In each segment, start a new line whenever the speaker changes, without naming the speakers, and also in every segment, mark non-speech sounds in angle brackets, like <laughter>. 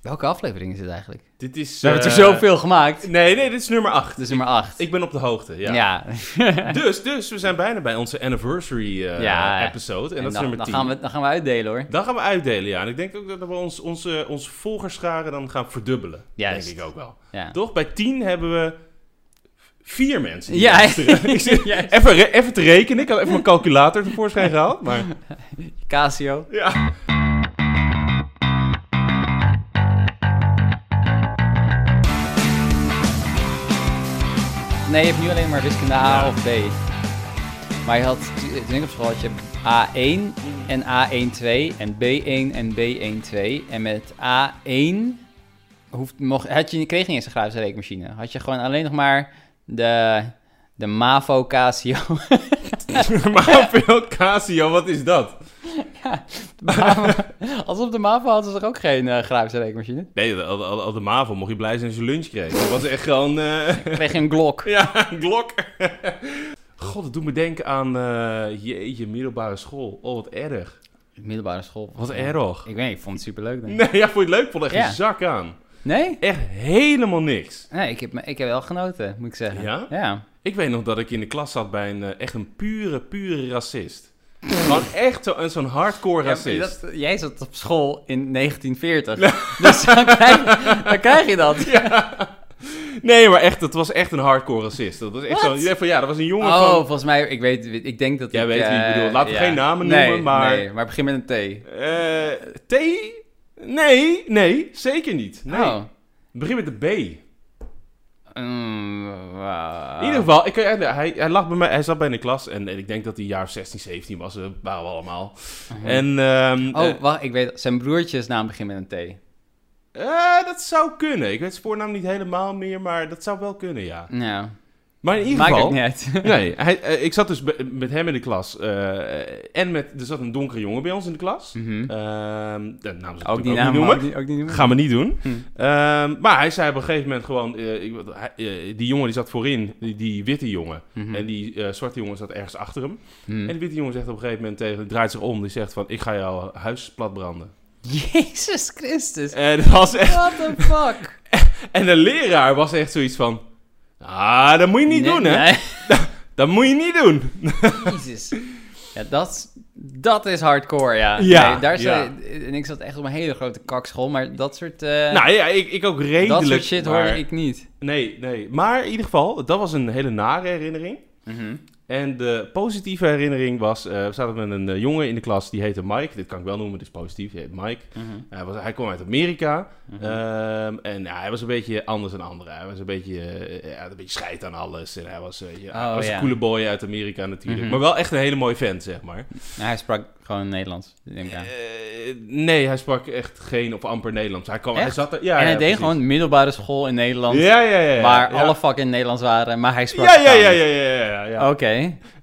Welke aflevering is het eigenlijk? We
Dit is...
hebben het er
eh,
zoveel gemaakt.
<laughs>
Het
Nee, nee, dit is nummer 8.
is nummer 8.
Ik ben op de hoogte, ja.
<laughs> ja.
Dus, dus, we zijn bijna bij onze anniversary eh,
Ja.
episode. En,
En
dat
dan,
is nummer
dan
10.
gaan we, dan gaan we uitdelen hoor.
Dan gaan we uitdelen, ja. En ik denk ook dat we ons, onze, onze volgerscharen dan gaan verdubbelen.
Juist.
Denk ik ook wel.
Ja.
Toch? Bij 10 hebben we vier mensen. die
Ja. <laughs>
luisteren. Ik zit-
Juist.
even, re- even te rekenen. Ik had even mijn calculator tevoorschijn gehaald.
<laughs>
Maar
Casio.
ja.
Nee, je hebt nu alleen maar wiskunde A
Ja.
of B. Maar je had, toen ik op school had je A1 en A1-2 en B1 en B1-2. En met A1 hoeft, mocht, had je, kreeg je niet eens een grafische rekenmachine. Had je gewoon alleen nog maar de, de MAVO Casio.
<laughs>
<laughs>
maar veel Casio, wat is dat?
Alsof de MAVO hadden ze toch ook geen eh, grafische rekenmachine?
Nee, al, al, al de MAVO mocht je blij zijn als je lunch kreeg. Dat was echt gewoon... eh,
Kreeg je een Glock.
Ja, een Glock. God, dat doet me denken aan... eh, jeetje, middelbare school. Oh, wat erg.
Middelbare school.
Wat erg.
Ik weet niet, ik vond het superleuk. Denk ik.
Nee, ja, vond je het leuk? Vond echt
Ja.
een zak aan.
Nee?
Echt helemaal niks.
Nee, ik heb, me- ik heb wel genoten, moet ik zeggen.
Ja?
Ja.
Ik weet nog dat ik in de klas zat bij een eh, echt een pure, pure racist. Gewoon echt zo- een- zo'n
Ja,
hardcore
maar
racist.
dat- jij zat op school
<laughs>
in 1940. Dus dan krijg, dan krijg je dat.
Nee, maar echt, dat was echt een hardcore racist. Dat was echt
Wat?
zo'n... je denkt van, Ja, dat was een jongen
Oh,
van...
volgens mij, ik weet, ik denk dat
Jij
ik...
weet wie ik
eh,
bedoel. Laten we geen namen
Nee,
noemen, maar-
Nee, maar begin met een T.
eh, T? Nee, nee, zeker niet. Nee.
Oh.
Begin met de B.
Mm, wauw.
In ieder geval, ik, kan je uitleggen, hij, hij, lag bij mij, hij zat bij in de klas en, en ik denk dat hij een jaar of 16, 17 was. Dat waren we allemaal. En, ehm, eh,
Hm. Oh, wacht, ik weet Zijn broertjes naam begint met een T.
eh, dat zou kunnen. Ik weet zijn voornaam niet helemaal meer, maar dat zou wel kunnen, ja.
Nou,
Maar in ieder
maakt
geval...
het niet uit.
Nee, hij, eh, ik zat dus be- met hem in de klas. eh, en met, er zat een donkere jongen bij ons in de klas.
Mhm.
Ehm dat namen ze
Ook die
natuurlijk ook
naam
niet
ook
noemen.
niet, ook niet noemen.
Gaan we niet doen.
Hm.
Ehm, maar hij zei op een gegeven moment gewoon... eh, ik- hij- eh, die jongen die zat voorin, die, die witte jongen.
Mhm.
En die eh, zwarte jongen zat ergens achter hem.
Hm.
En die witte jongen zegt op een gegeven moment tegen... Draait zich om, die zegt van... Ik ga jouw huis platbranden.
Jezus Christus.
En, dat was echt,
What the fuck?
en de leraar was echt zoiets van... Ah, dat moet je niet
Nee,
doen, hè?
nee.
Dat moet je niet doen.
Jezus. Ja, dat, is- dat is hardcore, ja.
Ja,
Nee, daar
ja.
zat- En ik zat echt op een hele grote kakschool, maar dat soort, eh,
nou ja, ik, ik ook redelijk.
dat soort shit
maar-
hoorde ik niet.
Nee, nee. Maar in ieder geval, dat was een hele nare herinnering.
Mhm,
En de positieve herinnering was, eh, we zaten met een eh, jongen in de klas, die heette Mike. Dit kan ik wel noemen, dit is positief, die heet Mike.
mhm,
Hij, was, hij kwam uit Amerika ehm, en ja, hij was een beetje anders dan anderen. Hij was een beetje, eh, hij had een beetje scheid aan alles. En hij was, eh, ja, hij
Oh,
was
ja.
een coole boy uit Amerika natuurlijk,
Mhm.
maar wel echt een hele mooie vent, zeg maar.
Nou, hij sprak gewoon Nederlands, denk ik aan.
Eh, nee, hij sprak echt geen of amper Nederlands. Hij, kwam, hij
Echt?
zat er, ja,
en hij deed
ja, precies.
gewoon middelbare school in Nederland,
ja, ja, ja, ja,
waar
ja.
alle vakken Nederlands waren, maar hij sprak Oh.
ja, ja,
gewoon.
ja, ja, ja, ja, ja.
Oké.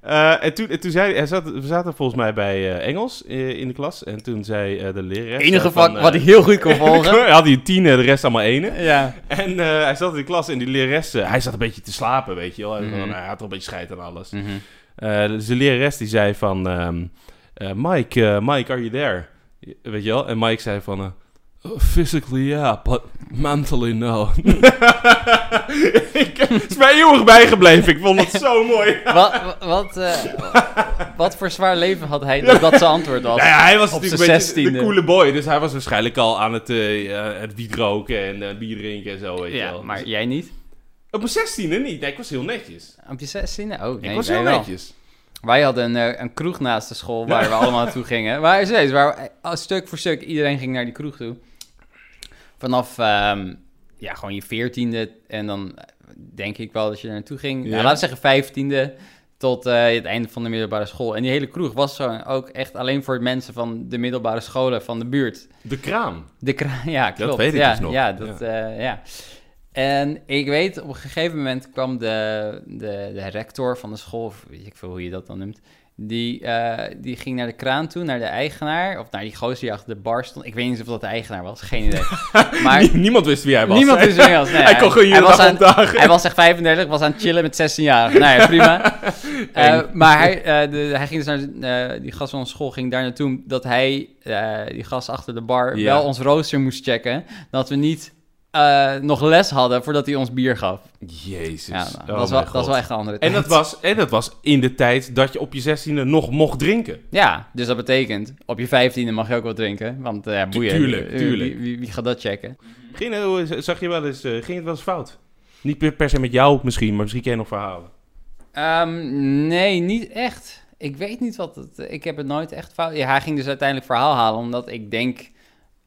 Eh, en toen, en toen zei hij, zat, we zaten volgens mij bij eh, Engels eh, in de klas. En toen zei eh, de leraar.
Enige vak wat ik heel goed
<laughs>
kon volgen.
had hij een tien en de rest allemaal enen.
ja.
En eh, hij zat in de klas en die lerares, eh, hij zat een beetje te slapen, weet je wel. Hij, was
Mhm.
gewoon, hij had al een beetje scheid aan alles.
Mhm.
Eh, dus de lerares die zei van, ehm, eh, Mike, eh, Mike, are you there? Weet je wel? En Mike zei van, eh, "Oh, physically yeah, but mentally no. <laughs> ik, het is mij eeuwig bijgebleven, ik vond het
<laughs>
zo mooi.
Wat, wat, eh, wat voor zwaar leven had hij dat dat zijn antwoord was?
Nou ja, hij was
Op
natuurlijk
zijn
een beetje de
16e.
coole boy, dus hij was waarschijnlijk al aan het, eh, eh, het wiet roken en eh, bier drinken en zo, weet je
Ja,
wel.
maar
Dus-
jij niet?
Op mijn zestiende niet, nee, ik was heel netjes.
Op je 16 Oh, nee,
ik was
wij
heel
wel.
netjes.
Wij hadden een, eh, een kroeg naast de school waar we allemaal naartoe gingen. Waar is steeds, waar we- eh, stuk voor stuk iedereen ging naar die kroeg toe. Vanaf ehm, ja, gewoon je veertiende en dan eh, denk ik wel dat je er naartoe ging.
Ja.
Nou, laten we zeggen vijftiende tot eh, het einde van de middelbare school. En die hele kroeg was zo ook echt alleen voor mensen van de middelbare scholen van de buurt.
De
<laughs>
kraam.
De kra- ja, klopt.
weet ik
ja,
dus nog.
Ja, dat, ja. ja. En ik weet, op een gegeven moment kwam de, de, de rector van de school, of weet ik veel hoe je dat dan noemt, die, eh, die ging naar de kraan toe, naar de eigenaar, of naar die gozer die achter de bar stond. Ik weet niet of dat de eigenaar was, geen
<laughs>
idee. Maar
Nie- Niemand wist wie hij was.
niemand <laughs> wist meer als... nee,
hij kon gewoon
hij
<laughs> jullie
was
dag
aan-
opdagen. <laughs>
hij was echt 35, was aan het chillen met 16 jaar. Nou ja, prima. Eh, maar hij, eh, de, hij ging dus naar, eh, die gast van onze school ging daar naartoe dat hij, eh, die gast achter de bar,
Ja.
wel ons rooster moest checken. Dat we niet eh, nog les hadden voordat hij ons bier gaf.
Jezus.
Ja, nou,
Oh
dat, is wel,
mijn
dat is wel
God.
echt een andere
En
tijd. <laughs>
dat, was, en dat was in de tijd dat je op je zestiende nog mocht drinken.
Ja, dus dat betekent, op je vijftiende mag je ook wel drinken. Want eh boeien,
tuurlijk,
wie-
tuurlijk.
Wie, wie- wie gaat dat checken?
Ging, eh, zag je wel eens, eh, ging het wel eens fout? Niet per, per se met jou misschien, maar misschien ken je nog verhalen.
Ehm, nee, niet echt. Ik weet niet wat het... Ik heb het nooit echt fout... Ja, hij ging dus uiteindelijk verhaal halen, omdat ik denk...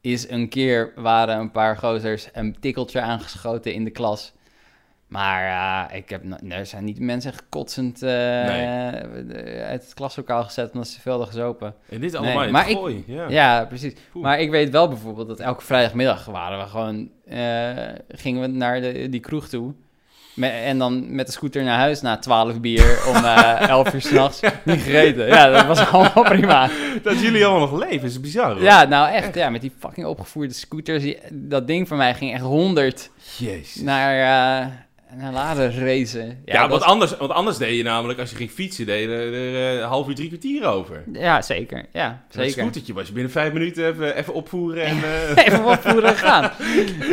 Is een keer waren een paar gozers een tikkeltje aangeschoten in de klas. Maar eh, ik heb, no- nee, er zijn niet mensen kotsend eh, uit het klaslokaal gezet omdat ze veel hadden gezopen.
En dit
Nee,
allemaal in
maar
het
ik-
gooi. Ja.
Ja, precies.
Poeh.
Maar ik weet wel bijvoorbeeld dat elke vrijdagmiddag waren we gewoon, eh, gingen we naar de, die kroeg toe. Me- en dan met de scooter naar huis na 12 bier om eh 11 uur s'nachts. Niet gereden. Ja, dat was allemaal prima.
Dat jullie allemaal nog leven is bizar hoor.
Ja, nou echt. Ja, met die fucking opgevoerde scooters. die- dat ding van mij ging echt 100
Jezus.
naar, eh naar laden racen.
Ja,
Nou, dat-
want, anders, want anders deed je namelijk, als je ging fietsen, deed je er er, eh, een half uur, drie kwartier over.
ja, zeker. Ja,
Zeker. Een
zeker.
scootertje was je binnen vijf minuten even, even opvoeren en
<laughs>
eh,
Even wat voeren gaan.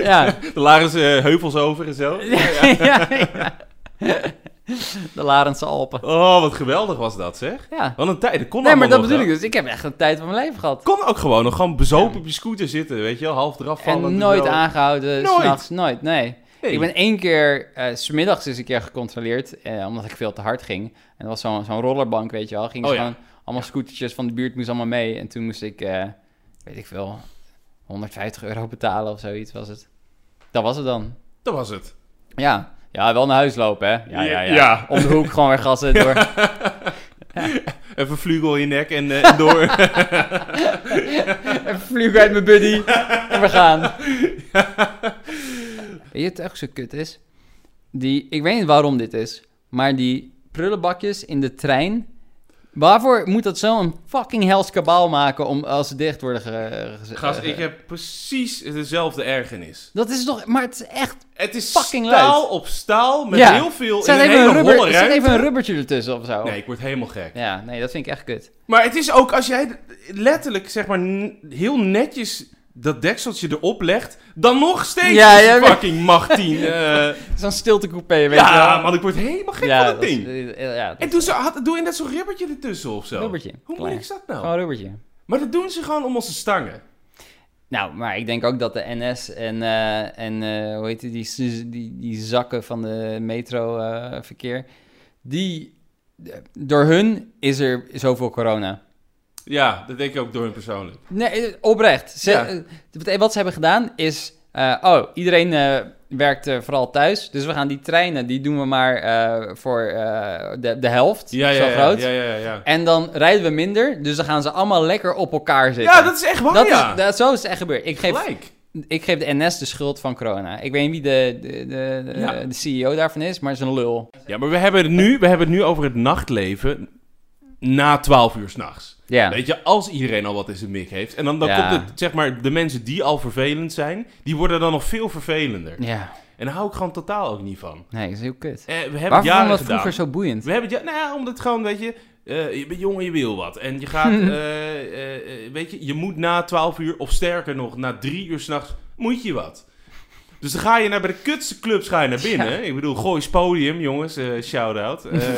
Ja.
er lagen ze eh, heuvels over en
<laughs>
zo.
ja, ja. De Larentse Alpen.
Oh, wat geweldig was dat zeg.
Ja.
Wat een tijd, dat kon
Nee, maar
allemaal
dat
nog,
bedoel ik
hè?
dus. Ik heb echt een tijd van mijn leven gehad.
Kon ook gewoon nog gewoon bezopen
Ja.
op je scooter zitten, weet je wel, half eraf vallen.
En nooit aangehouden,
Nooit.
s'nachts, nooit, nee.
Nee.
Ik ben één keer, eh, 's smiddags is een keer gecontroleerd, eh, omdat ik veel te hard ging. En dat was zo'n zo'n rollerbank, weet je wel. Gingen
Oh,
ze
ja.
gewoon, allemaal scootertjes van de buurt moesten allemaal mee. En toen moest ik, eh, weet ik veel, 150 euro betalen of zoiets was het. Dat was het dan.
Dat was het.
Ja, ja wel naar huis lopen, hè. Ja, ja, ja.
Ja.
Om de hoek gewoon weer gassen <laughs> door.
Even vlugel in je nek en, eh, en
<laughs>
door.
Even vliegen uit mijn buddy. En we gaan. <laughs> Weet je het echt zo kut is? Die, ik weet niet waarom dit is, maar die prullenbakjes in de trein. Waarvoor moet dat zo'n fucking hels kabaal maken om als ze dicht worden ge- ge-
Gast,
ge-
ik heb precies dezelfde ergernis.
Dat is toch... Maar het is echt...
Het is
Fucking
staal
luid.
op staal met
Ja.
heel veel
Zet
in een
even,
hele
een rubber,
holle
zet
ruimte.
even een rubbertje ertussen of zo.
Nee, ik word helemaal gek.
Ja, nee, dat vind ik echt kut.
Maar het is ook als jij letterlijk zeg maar n- heel netjes dat dekseltje erop legt, dan nog steeds
Ja,
is
ja,
het
maar-
fucking
<laughs>
machine. eh
Zo'n stiltecoupé, weet je wel.
ja, man, ik word helemaal gek
Ja,
van dat
dat is-
ding.
eh, ja, dat
En
is
doe, ze, had, doe je net zo'n rubbertje ertussen of zo.
Rubbertje,
Hoe
klein.
moeilijk is dat nou?
gewoon een rubbertje.
Maar dat doen ze gewoon om onze stangen.
Nou, maar ik denk ook dat de NS en, eh, en eh, hoe heet het, die, s- die, die zakken van de metroverkeer, die, eh, door hun is er zoveel corona.
Ja, dat denk ik ook door hun persoonlijk.
Nee, eh, oprecht. Ze-
Ja.
eh, wat- Wat ze hebben gedaan is, eh, oh, iedereen eh, werkt eh, vooral thuis, dus we gaan die treinen, die doen we maar eh, voor eh, de, de helft,
Ja,
zo
ja, ja,
groot.
ja, ja, ja.
En dan rijden we minder, dus dan gaan ze allemaal lekker op elkaar zitten.
Ja, dat is echt waar,
Dat
ja.
is, dat, zo is het echt gebeurd. Ik geef
Gelijk.
Ik geef de NS de schuld van corona. Ik weet niet wie de, de, de, de,
Ja.
de CEO daarvan is, maar het is een lul.
Ja, maar we hebben, het nu, we hebben het nu over het nachtleven na 12 uur s'nachts.
Ja.
Weet je, als iedereen al wat in zijn mik heeft. En dan, dan
Ja.
komt het, zeg maar, de mensen die al vervelend zijn, die worden dan nog veel vervelender.
Ja,
En daar hou ik gewoon totaal ook niet van.
nee, dat is heel kut.
Eh, we hebben het
Waarom
jaren
vond dat
gedaan.
vroeger zo boeiend?
We hebben het, ja, nou ja, omdat het gewoon, weet je, eh, je bent jong en je wil wat. En je
<laughs>
gaat, eh, eh, eh, weet je, je moet na 12 uur, of sterker nog, na drie uur s'nachts, moet je wat. Dus dan ga je naar bij de kutste clubs ga je naar binnen.
Ja.
Ik bedoel, Goois Podium, jongens, eh, shout-out.
<laughs>
Eh, eh,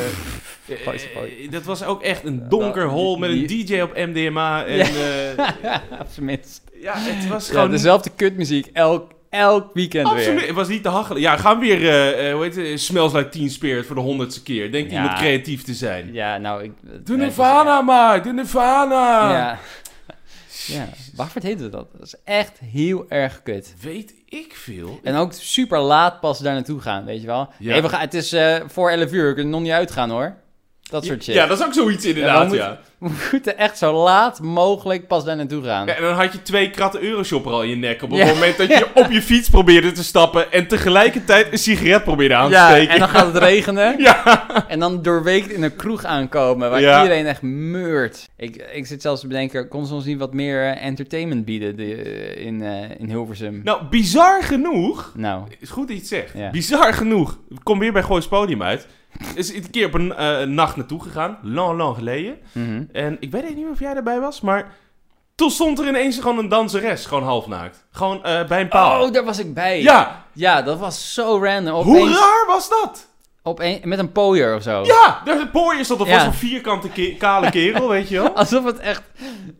Goois Podium.
dat was ook echt een donker
nou,
hol
die-
met een DJ op MDMA. En, eh,
Ja, op zijn minst.
ja, het
<laughs>
was
Ja,
gewoon niet-
dezelfde kutmuziek elk, elk weekend
Absoluut,
weer.
het was niet te hachelen. Ja, gaan we weer, eh, eh, hoe heet het, Smells Like Teen Spirit voor de honderdste keer. Denk
Ja.
iemand creatief te zijn.
Ja, nou, ik...
Doe
nee,
Nirvana maar, doe Nirvana.
Ja. ja. Waarvoor heette we dat? Dat is echt heel erg kut.
Weet ik veel.
En ook super laat pas daar naartoe gaan, weet je wel?
Ja.
Nee, we gaan, het is eh, voor 11 uur, we kunnen nog niet uitgaan hoor. Dat soort shit.
Ja, dat is ook zoiets
Ja,
inderdaad,
we
ja.
moeten- We moeten echt zo laat mogelijk pas daar naartoe gaan.
Ja, en dan had je twee kratten euroshop er al in je nek. Op het
Ja.
moment dat
<laughs>
je op je fiets probeerde te stappen. En tegelijkertijd een sigaret probeerde aan te
Ja,
steken.
en dan gaat het regenen.
<laughs> Ja.
En dan doorweekt in een kroeg aankomen waar
Ja.
iedereen echt meurt. Ik, ik zit zelfs te bedenken, kon ze ons niet wat meer eh, entertainment bieden die, eh, in, eh, in Hilversum?
Nou, bizar genoeg.
Nou,
Is goed dat je het zegt.
Ja.
Bizar genoeg. Ik kom weer bij Goois Podium uit. Is een keer op een eh, nacht naartoe gegaan. Lang, lang geleden.
mhm.
En ik weet echt niet meer of jij daarbij was, maar... Toen stond er ineens gewoon een danseres, gewoon halfnaakt. Gewoon eh, bij een paal.
Oh, daar was ik bij.
ja,
Ja, dat was zo random.
hoe
Opeens,
raar was dat?
opeen- met een pooier of zo.
Ja, de pooier stond er
Ja.
was een vierkante ke- kale
<laughs>
kerel, weet je wel.
Alsof het echt...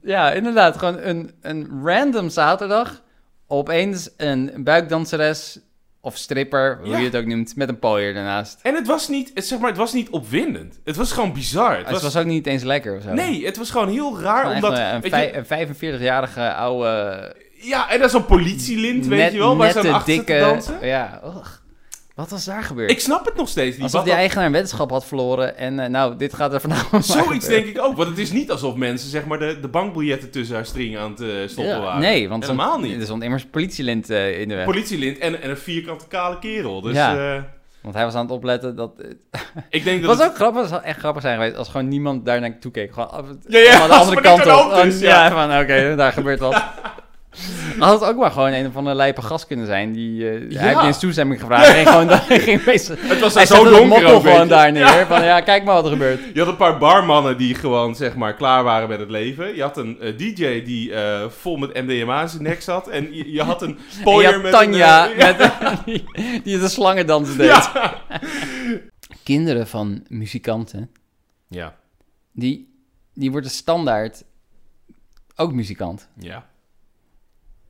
Ja, inderdaad. Gewoon een, een random zaterdag. Opeens een buikdanseres of stripper, hoe
Ja.
je het ook noemt, met een pooier daarnaast.
En het was niet, het, zeg maar, het was niet opwindend. Het was gewoon bizar. Het
Het was,
was,
ook niet eens lekker of zo.
nee, het was gewoon heel raar,
Gewoon echt
omdat...
een- een,
weet
vij-
je,
een 45-jarige oude...
ja, en dat is een politielint, weet
net-
je wel, waar ze aan
nette,
achter zitten dansen.
Ja, och. Wat was daar gebeurd?
Ik snap het nog steeds niet.
Alsof
wat
die
dat-
eigenaar een weddenschap had verloren en eh, nou, dit gaat er vanavond
Zoiets denk ik ook, want het is niet alsof mensen zeg maar de, de bankbiljetten tussen haar string aan het eh, stoppen waren.
Nee, want
Helemaal
er-
niet.
er stond immers politielint eh, in de weg.
Politielint en, en een vierkante kale kerel. Dus
Ja.
eh,
want hij was aan het opletten dat... eh, Het
ik
<laughs>
denk dat
was
het-
ook grappig, het zou echt grappig zijn geweest als gewoon niemand daar naar toe keek. Gewoon af,
Ja, ja,
allemaal
als
de andere
er
kant
niks aan de
op.
hand is,
Oh,
ja.
ja, van oké, daar gebeurt
<laughs>
wat. Had het ook maar gewoon een of andere lijpe gast kunnen zijn. Die, eh
Ja.
Hij heeft niet eens toestemming gevraagd. Hij
<laughs>
gewoon, hij ging meestal,
het was
hij
daar
zette
zo
het
donker
motto
ook, weet
gewoon
je.
daar neer. Van ja, kijk maar wat er gebeurt.
<laughs> Je had een paar barmannen die gewoon zeg maar klaar waren met het leven. Je had een eh, DJ die eh, vol met MDMA in zijn nek zat. En je, je had een
<laughs> En je
pooier
had
met
Tanja
een...
<laughs>
eh,
met, die, die de slangendans deed.
ja.
Kinderen van muzikanten,
<laughs> ja,
die, die worden standaard ook muzikant.
ja.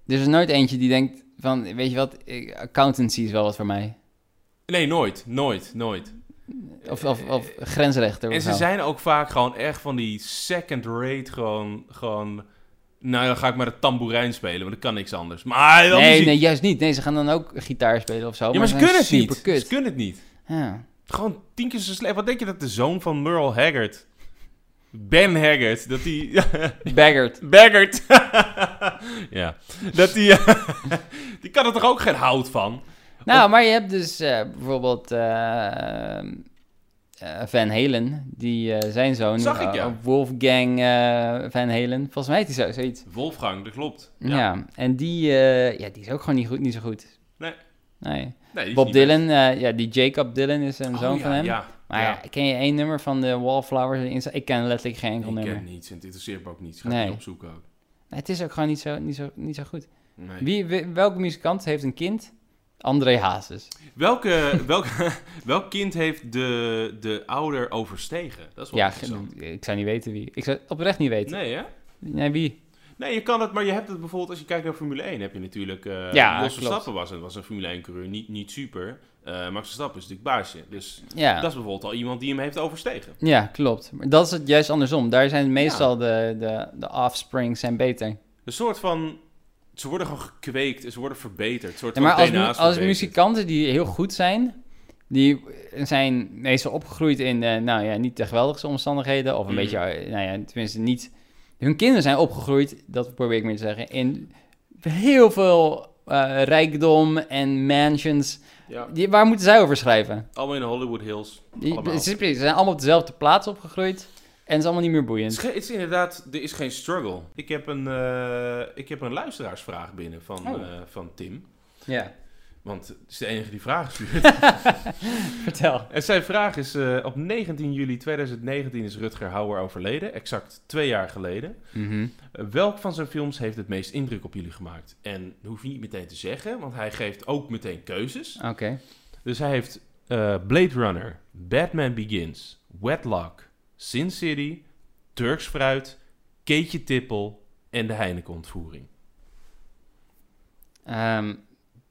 Er is nooit eentje die denkt van, weet je wat, ik- accountancy is wel wat voor mij.
Nee, nooit. Nooit, nooit.
Of, of, of grensrechter.
Eh, En
of
ze
zo.
zijn ook vaak gewoon echt van die second rate gewoon... gewoon nou, dan ga ik maar het tamboerijn spelen, want ik kan niks anders. Maar wel
Nee,
muziek.
nee, juist niet. Nee, ze gaan dan ook gitaar spelen of zo.
ja, maar ze
zijn
kunnen het niet.
superkut.
Ze kunnen het niet.
Ja.
Gewoon tien keer zo slecht. Wat denk je dat de zoon van Merle Haggard... Ben Haggard, dat die... <laughs>
Baggert.
Baggert. ja. Dat die, <laughs> die kan er toch ook geen hout van?
Nou, maar je hebt dus eh, bijvoorbeeld eh, eh, Van Halen, die eh, zijn zoon,
Zag ik, ja.
eh, Wolfgang eh, Van Halen, volgens mij is hij zo, zoiets.
Wolfgang, dat klopt.
Ja. en die, eh, ja, die is ook gewoon niet, goed, niet zo goed.
Nee.
Nee.
Nee, die is
Bob
niet
Dylan, eh, ja, die Jacob Dylan is een
best.
zoon
Oh, ja,
van hem.
Ja,
Maar
ja.
ja, ken je één nummer van de Wallflowers? Insta- Ik ken letterlijk geen enkel
ik
nummer.
ken niets en het interesseert me ook niet. Ga ik
Nee.
niet opzoeken ook.
Nee, het is ook gewoon niet zo, niet zo, niet zo goed.
Nee.
Wie, wie- welke muzikant heeft een kind? André Hazes.
Welke, <laughs> welk, welk kind heeft de, de ouder overstegen? Dat is wel
Ja,
interessant.
ik, ik zou niet weten wie. Ik zou oprecht niet weten.
Nee, hè?
nee wie?
Nee, je kan het, maar je hebt het bijvoorbeeld als je kijkt naar Formule 1, heb je natuurlijk. eh
Ja,
Max
klopt.
Verstappen was een, was een Formule 1 coureur, niet, niet super. Eh Max Verstappen is natuurlijk baasje. Dus
Ja,
dat is bijvoorbeeld al iemand die hem heeft overstegen.
ja klopt. Maar dat is het juist andersom. Daar zijn meestal de, de, de offspring zijn beter.
Een soort van. Ze worden gewoon gekweekt, ze worden verbeterd. Een soort
Ja, maar
van
als, mu-
DNA
als
is verbeterd.
muzikanten die heel goed zijn, die zijn meestal opgegroeid in eh, nou ja, niet de geweldigste omstandigheden. Of een
Mm.
beetje, eh, nou ja, tenminste niet. Hun kinderen zijn opgegroeid, dat probeer ik meer te zeggen, in heel veel eh, rijkdom en mansions.
Ja,
Die, waar moeten zij over schrijven?
allemaal in de Hollywood Hills.
Die,
Allemaal.
ze ze zijn allemaal op dezelfde plaats opgegroeid en het is allemaal niet meer
Het is,
boeiend.
ge- het is inderdaad, er is geen struggle. Ik heb een, eh, ik heb een luisteraarsvraag binnen van,
Oh.
eh, van Tim.
Ja, <laughs>
Want het is de enige die vragen stuurt.
vertel.
<laughs> en zijn vraag is, eh, op 19 juli 2019 is Rutger Hauer overleden. Exact twee jaar geleden. Eh, Welk van zijn films heeft het meest indruk op jullie gemaakt? En dat hoef je niet meteen te zeggen, want hij geeft ook meteen keuzes.
Oké.
Dus hij heeft eh, Blade Runner, Batman Begins, Wetlock, Sin City, Turks Fruit, Keetje Tippel en de Heineken-ontvoering.
Ehm,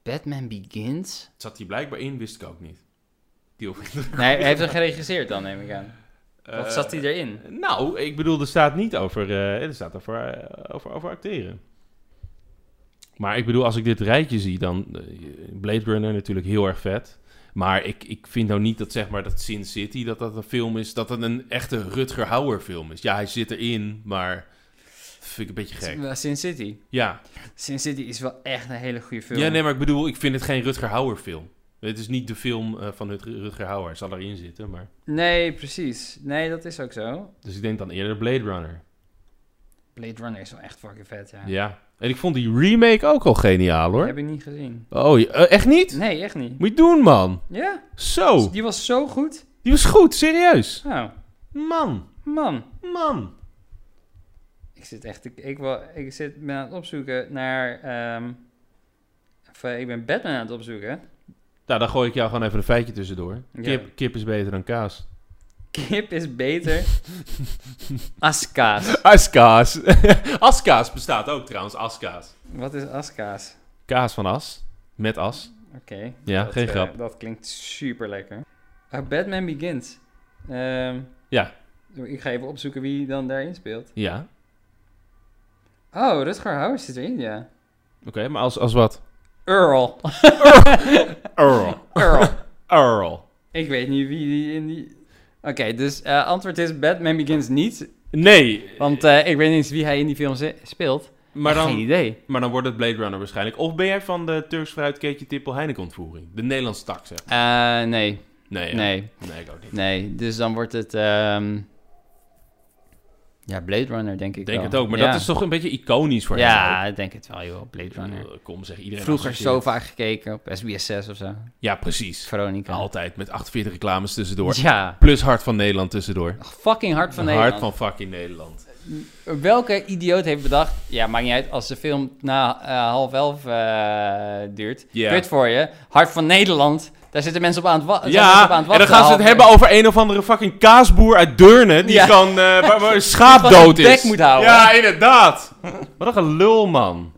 Batman Begins?
Het Zat hij blijkbaar in, wist ik ook niet. Die of-
Nee, hij heeft hem geregisseerd dan, neem ik aan.
Eh,
Of zat hij erin?
Nou, ik bedoel, er staat niet over, eh, er staat over, eh, over, over acteren. Maar ik bedoel, als ik dit rijtje zie, dan eh, Blade Runner natuurlijk heel erg vet. Maar ik, ik vind nou niet dat zeg maar dat Sin City dat dat een film is, dat het een echte Rutger Hauer film is. Ja, hij zit erin, maar dat vind ik een beetje gek.
Sin City.
Ja.
Sin City is wel echt een hele goede film.
ja, nee, maar ik bedoel, ik vind het geen Rutger Hauer film. Het is niet de film eh, van Rut- Rutger Hauer. Hij zal erin zitten, maar...
Nee, precies. Nee, dat is ook zo.
Dus ik denk dan eerder Blade Runner.
Blade Runner is wel echt fucking vet, ja.
Ja. En ik vond die remake ook al geniaal, hoor.
Heb ik niet gezien.
Oh, je- eh, echt niet?
Nee, echt niet.
Moet je doen, man.
Ja, Dus
Zo.
die was zo goed.
Die was goed, serieus.
Nou,
Man.
man.
Man.
Ik zit echt... Ik, ik, wil, ik zit ben aan het opzoeken naar... ehm, of, eh, ik ben Batman aan het opzoeken. <laughs>
Nou, dan gooi ik jou gewoon even een feitje tussendoor.
Ja.
Kip, kip is beter dan kaas.
Kip is beter als kaas.
<laughs> Askaas. <laughs> askaas bestaat ook trouwens, askaas.
Wat is als kaas?
Kaas van as. Met as.
Oké.
Ja, geen
eh,
grap.
dat klinkt super lekker. Ah, Batman Begins. Ehm,
Ja.
Ik ga even opzoeken wie dan daarin speelt.
Ja.
Oh, Rutger Hauer zit erin, ja.
Oké, maar als, als wat? <laughs>
Earl.
Earl.
Earl.
Earl.
ik weet niet wie die in die... Oké, dus eh, antwoord is Batman Begins niet.
Nee.
Want eh, ik weet niet eens wie hij in die film ze- speelt.
maar,
Geen
dan,
idee.
maar dan wordt het Blade Runner waarschijnlijk. Of ben jij van de Turks fruitkeetje Tippel Heineken ontvoering? De Nederlandse tak, zeg.
Eh, nee,
Nee,
nee,
ja. Nee, ik ook niet.
nee. Dus dan wordt het... ehm, Ja, Blade Runner denk ik
Ik denk
wel.
het ook, maar
Ja.
dat is toch een beetje iconisch voor
Ja, ik denk het wel, joh.
hem.
Blade Runner.
Eh, Kom zeg, iedereen
Vroeger
associeert-
zo vaak gekeken op SBS 6 of zo.
Ja, precies.
Veronica.
Altijd, met 48 reclames tussendoor.
Ja.
Plus Hart van Nederland tussendoor.
Fucking hard van
Hart
Nederland. Oh,
van fucking Nederland.
Welke idioot heeft bedacht... Ja, maakt niet uit. Als de film na eh, half elf eh, duurt...
Ja.
Kut voor je. Hart van Nederland. Daar zitten mensen op aan het, wa- zijn mensen op aan
Ja,
het
en
wachten.
dan gaan ze het
half-
hebben over een of andere fucking kaasboer uit Deurne. Die
Ja. <laughs>
gewoon eh, waar, waar een
Die
schaap
gewoon
dood
zijn
is.
bek moet houden.
Ja, inderdaad. Wat een gelul, man.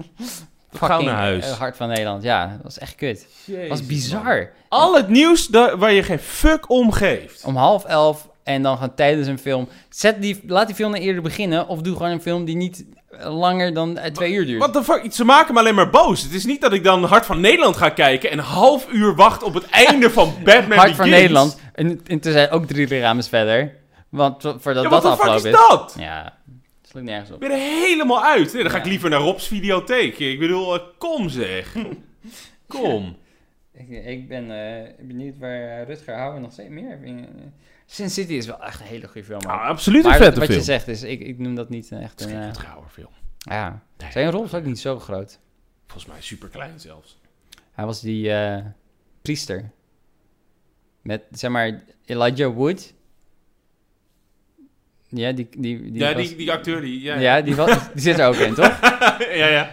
gauw naar huis.
eh, Hart van Nederland. Ja, dat was echt kut. Dat was bizar.
Al het nieuws da- waar je geen fuck om geeft.
Om half elf en dan gaan tijdens een film... Zet die, laat die film dan eerder beginnen. Of doe gewoon een film die niet eh, langer dan eh, twee uur duurt.
What the fuck? Ze maken me alleen maar boos. Het is niet dat ik dan Hart van Nederland ga kijken en een half uur wacht op het einde
<laughs>
van Batman
Hart van
Begins.
Nederland. En, en toen zijn ook drie lichaams verder. Want vo- voordat
Ja,
dat
wat de fuck
afgelopen
is dat?
Ja, dat sluit nergens op.
Ik ben er helemaal uit. Nee, dan ga ik
Ja.
liever naar Rob's videotheek. Ik bedoel, eh, kom zeg. Kom.
Ik, ik ben eh, benieuwd waar eh, Rutger Hauer nog steeds meer in... eh, Sin City is wel echt een hele goede film. man.
Ah, absoluut een
maar
vette
wat
film.
je zegt is, ik, ik noem dat niet eh, echt
Het
een...
is geen
eh,
Rutger Hauer film.
ja,
Nee.
zijn rol is ook niet zo groot.
Volgens mij super klein zelfs.
Hij was die eh, priester. Met, zeg maar, Elijah Wood. Ja, die... die, die
ja,
was-
die, die acteur die... Ja,
ja,
ja,
die, was, die zit er ook in, toch?
<laughs> ja. Ja,
Ja,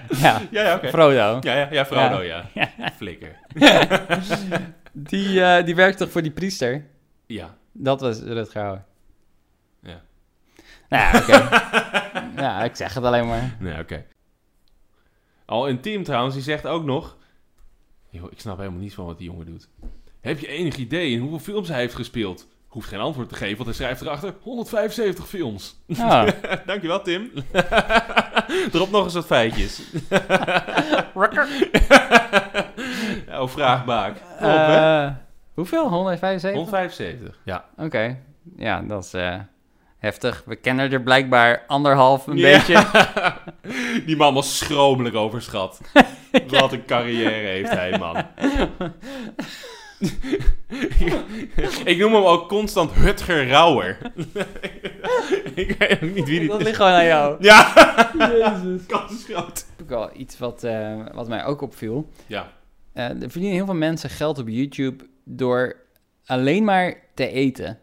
ja, ja oké. <laughs>
Frodo.
Ja, ja, ja, Frodo, ja. Flikker.
Die, eh, die werkt toch voor die priester?
Ja.
Dat was Rutger Hauer.
Ja.
Nou ja,
<laughs>
oké. ja, ik zeg het alleen maar.
Nee, oké. Al intiem trouwens, die zegt ook nog... Yo, ik snap helemaal niet van wat die jongen doet. Heb je enig idee in hoeveel films hij heeft gespeeld? Hoeft geen antwoord te geven, want hij schrijft erachter 175 films.
Oh.
Dankjewel, Tim. <laughs> Drop nog eens wat
<laughs>
feitjes. Ja, <laughs> oh, vraagbaak. Klopt, hè?
Eh, hoeveel? 175?
175. Ja.
Oké. Ja, dat is eh, heftig. We kennen er blijkbaar anderhalf een
Ja.
beetje.
<laughs> Die man was schromelijk
<laughs>
overschat. Wat een carrière heeft hij, man. ik noem hem ook constant Hutger Rauwer.
<laughs>
ik weet ook niet wie dit
Dat
is.
ligt gewoon aan
<laughs>
jou.
Ja. Kans is dus groot.
Ook wel iets wat, eh, wat mij ook opviel.
Ja.
Eh, er verdienen heel veel mensen geld op YouTube door alleen maar te eten.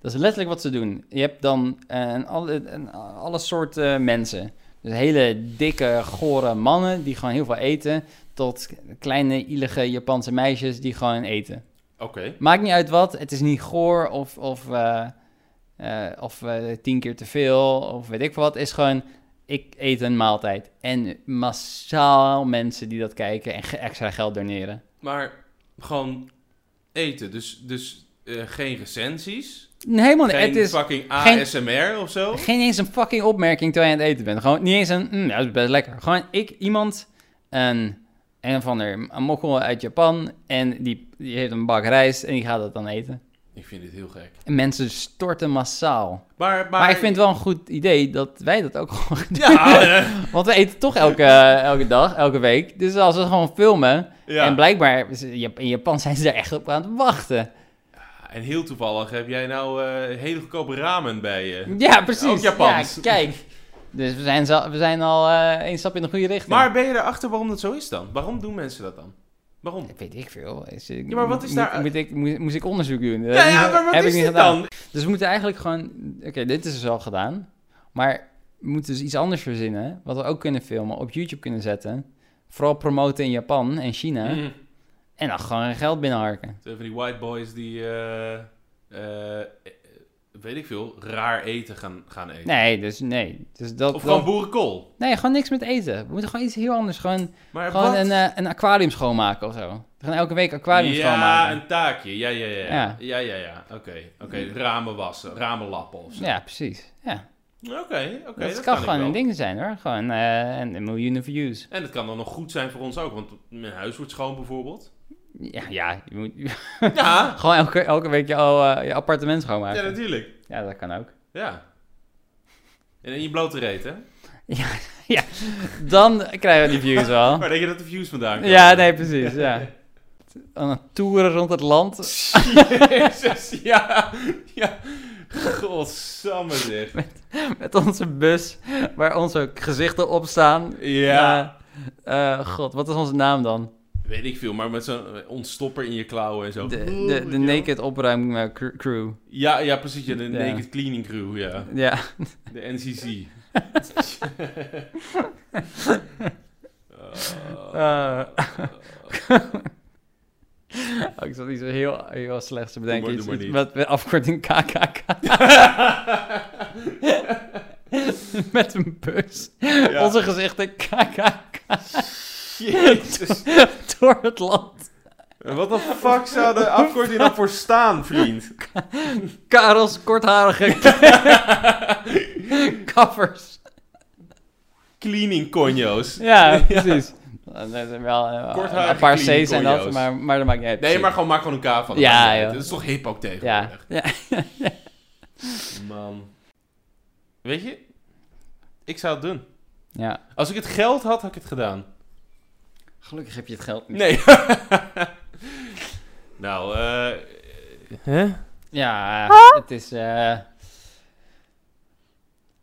Dat is letterlijk wat ze doen. Je hebt dan eh, een alle, een alle soorten mensen. Dus hele dikke, gore mannen die gewoon heel veel eten. Tot kleine, ielige Japanse meisjes die gewoon eten.
Oké.
Maakt niet uit wat. Het is niet goor of, of, eh, eh, of eh, tien keer te veel of weet ik veel wat. Het is gewoon, ik eet een maaltijd. En massaal mensen die dat kijken en ge- extra geld doneren.
Maar gewoon eten. Dus, dus eh, geen recensies.
Helemaal niet.
Geen
Oh, Het is
fucking
geen-
ASMR of zo.
geen eens een fucking opmerking terwijl je aan het eten bent. Gewoon niet eens een, mm, dat is best lekker. Gewoon ik, iemand, een een van de een mokkel uit Japan. En die, die heeft een bak rijst en die gaat dat dan eten.
Ik vind dit heel gek.
En mensen storten massaal.
Maar, maar,
Maar, ik vind het wel een goed idee dat wij dat ook <laughs> gewoon gaan doen.
Ja, eh,
Want we eten toch elke, eh, elke dag, elke week. Dus als we gewoon filmen.
<laughs>
<laughs>
ja.
En blijkbaar, in Japan <laughs> zijn ze er echt op aan het wachten.
En heel toevallig heb jij nou eh, hele goedkope ramen bij je.
Ja, precies.
Ook Japans.
Ja, kijk. Dus we zijn, zo- we zijn al eh één stap in de goede richting.
Maar ben je erachter waarom dat zo is dan? Waarom doen mensen dat dan? Waarom?
Dat weet ik veel. Is, ik-
Ja, maar wat is
moet-
daar-
Moet ik, moest, moest ik onderzoek doen?
Ja, ja, maar wat
Heb ik
is
niet
dit
gedaan.
dan?
Dus we moeten eigenlijk gewoon... Oké, dit is dus al gedaan. Maar we moeten dus iets anders verzinnen. Wat we ook kunnen filmen, op YouTube kunnen zetten. Vooral promoten in Japan en China.
Mm.
En dan gewoon geld binnenharken.
Zo van die white boys die, eh, eh, eh, weet ik veel, raar eten gaan, gaan eten.
Nee, dus nee. Dus dat,
of gewoon
dat-
boerenkool.
nee, gewoon niks met eten. We moeten gewoon iets heel anders. Gewoon,
Maar
gewoon
wat?
een, eh, een aquarium schoonmaken of zo. We gaan elke week aquarium
ja,
schoonmaken.
een taakje. Ja, ja, ja. Ja,
Ja.
ja, ja. ja. Oké, oké. Ramen wassen, ramen lappen of zo.
Ja, precies. Ja.
Oké, oké.
dat,
dat
kan
ik
gewoon
wel.
een ding zijn hoor. Gewoon eh, en en miljoenen views.
En het kan dan nog goed zijn voor ons ook, want mijn huis wordt schoon
<laughs>
bijvoorbeeld.
Ja, ja je moet <laughs>
Ja,
gewoon elke, elke week je, al, eh, je appartement schoonmaken.
ja
Ja dat...
natuurlijk.
kan ook.
Ja. En in je blote reet, hè?
Dan krijgen we die views wel.
Waar denk je dat de views vandaan komen?
ja, nee, precies. Ja. Aan het toeren rond het land.
<laughs>
<laughs>
Jezus, ja. Ja. Godsamme zeg.
Met onze bus. Waar onze gezichten op staan.
Ja.
Eh, eh, God, wat is onze naam dan?
Weet ik veel, maar met zo'n ontstopper in je klauwen en zo.
De, de, de Naked Opruim eh, cr- Crew.
Ja, ja, precies. Ja, de
Ja.
Naked Cleaning Crew, ja.
Ja.
De NCC.
<laughs> Eh. <laughs> Oh, ik zat iets heel, heel slechts te bedenken.
Doe maar- doe
Iets-
maar
iets met, met afkorting
<laughs>
KKK. met een bus.
Ja.
Onze gezichten KKK
Jezus.
<laughs> door het land.
Wat de fuck zou de afkorting dan voor staan, vriend?
Karels <laughs> kortharige kaffers.
Cleaning conjo's.
Ja, precies. Dat zijn wel eh,
Kortharige
een paar
clean
C's en dat,
konjo's.
maar, maar dat maakt niet uit.
Nee, maar gewoon, maak gewoon een K van.
Ja,
Maakt niet uit.
joh.
Dat is toch hip ook
Ja,
tegenwoordig.
ja.
Man. Weet je? Ik zou het doen.
ja.
Als ik het geld had, had ik het gedaan.
Gelukkig heb je het geld niet.
Nee. <laughs> nou, eh... Hè?
Ja, het is. eh,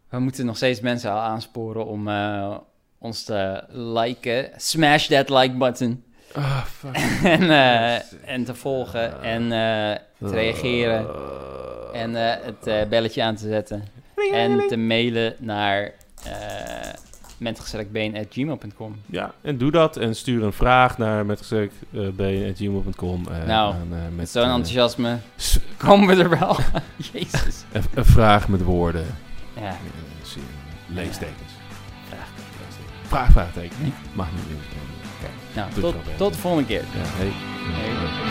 we moeten nog steeds mensen al aansporen om eh, ons te liken. Smash that like button. <laughs>
Ah, fuck.
en, eh, en te volgen en eh, te reageren. En eh, het eh, belletje aan te zetten. En te mailen naar eh mentgezelligbeen.gmail.com.
Ja, en doe dat. En stuur een vraag naar eh, metgezegd.gmail.com. Uh,
Nou, Met
eh,
zo'n enthousiasme komen we er wel. <laughs>
<laughs>
Jezus.
Een, een vraag met woorden.
Ja,
Eh, zie je. Leestekens. Leestekens. Vraag, vraagteken. Mag niet meer.
nou,
Doe het
tot,
wel beter.
tot de volgende keer.
Ja, hey.
Hey.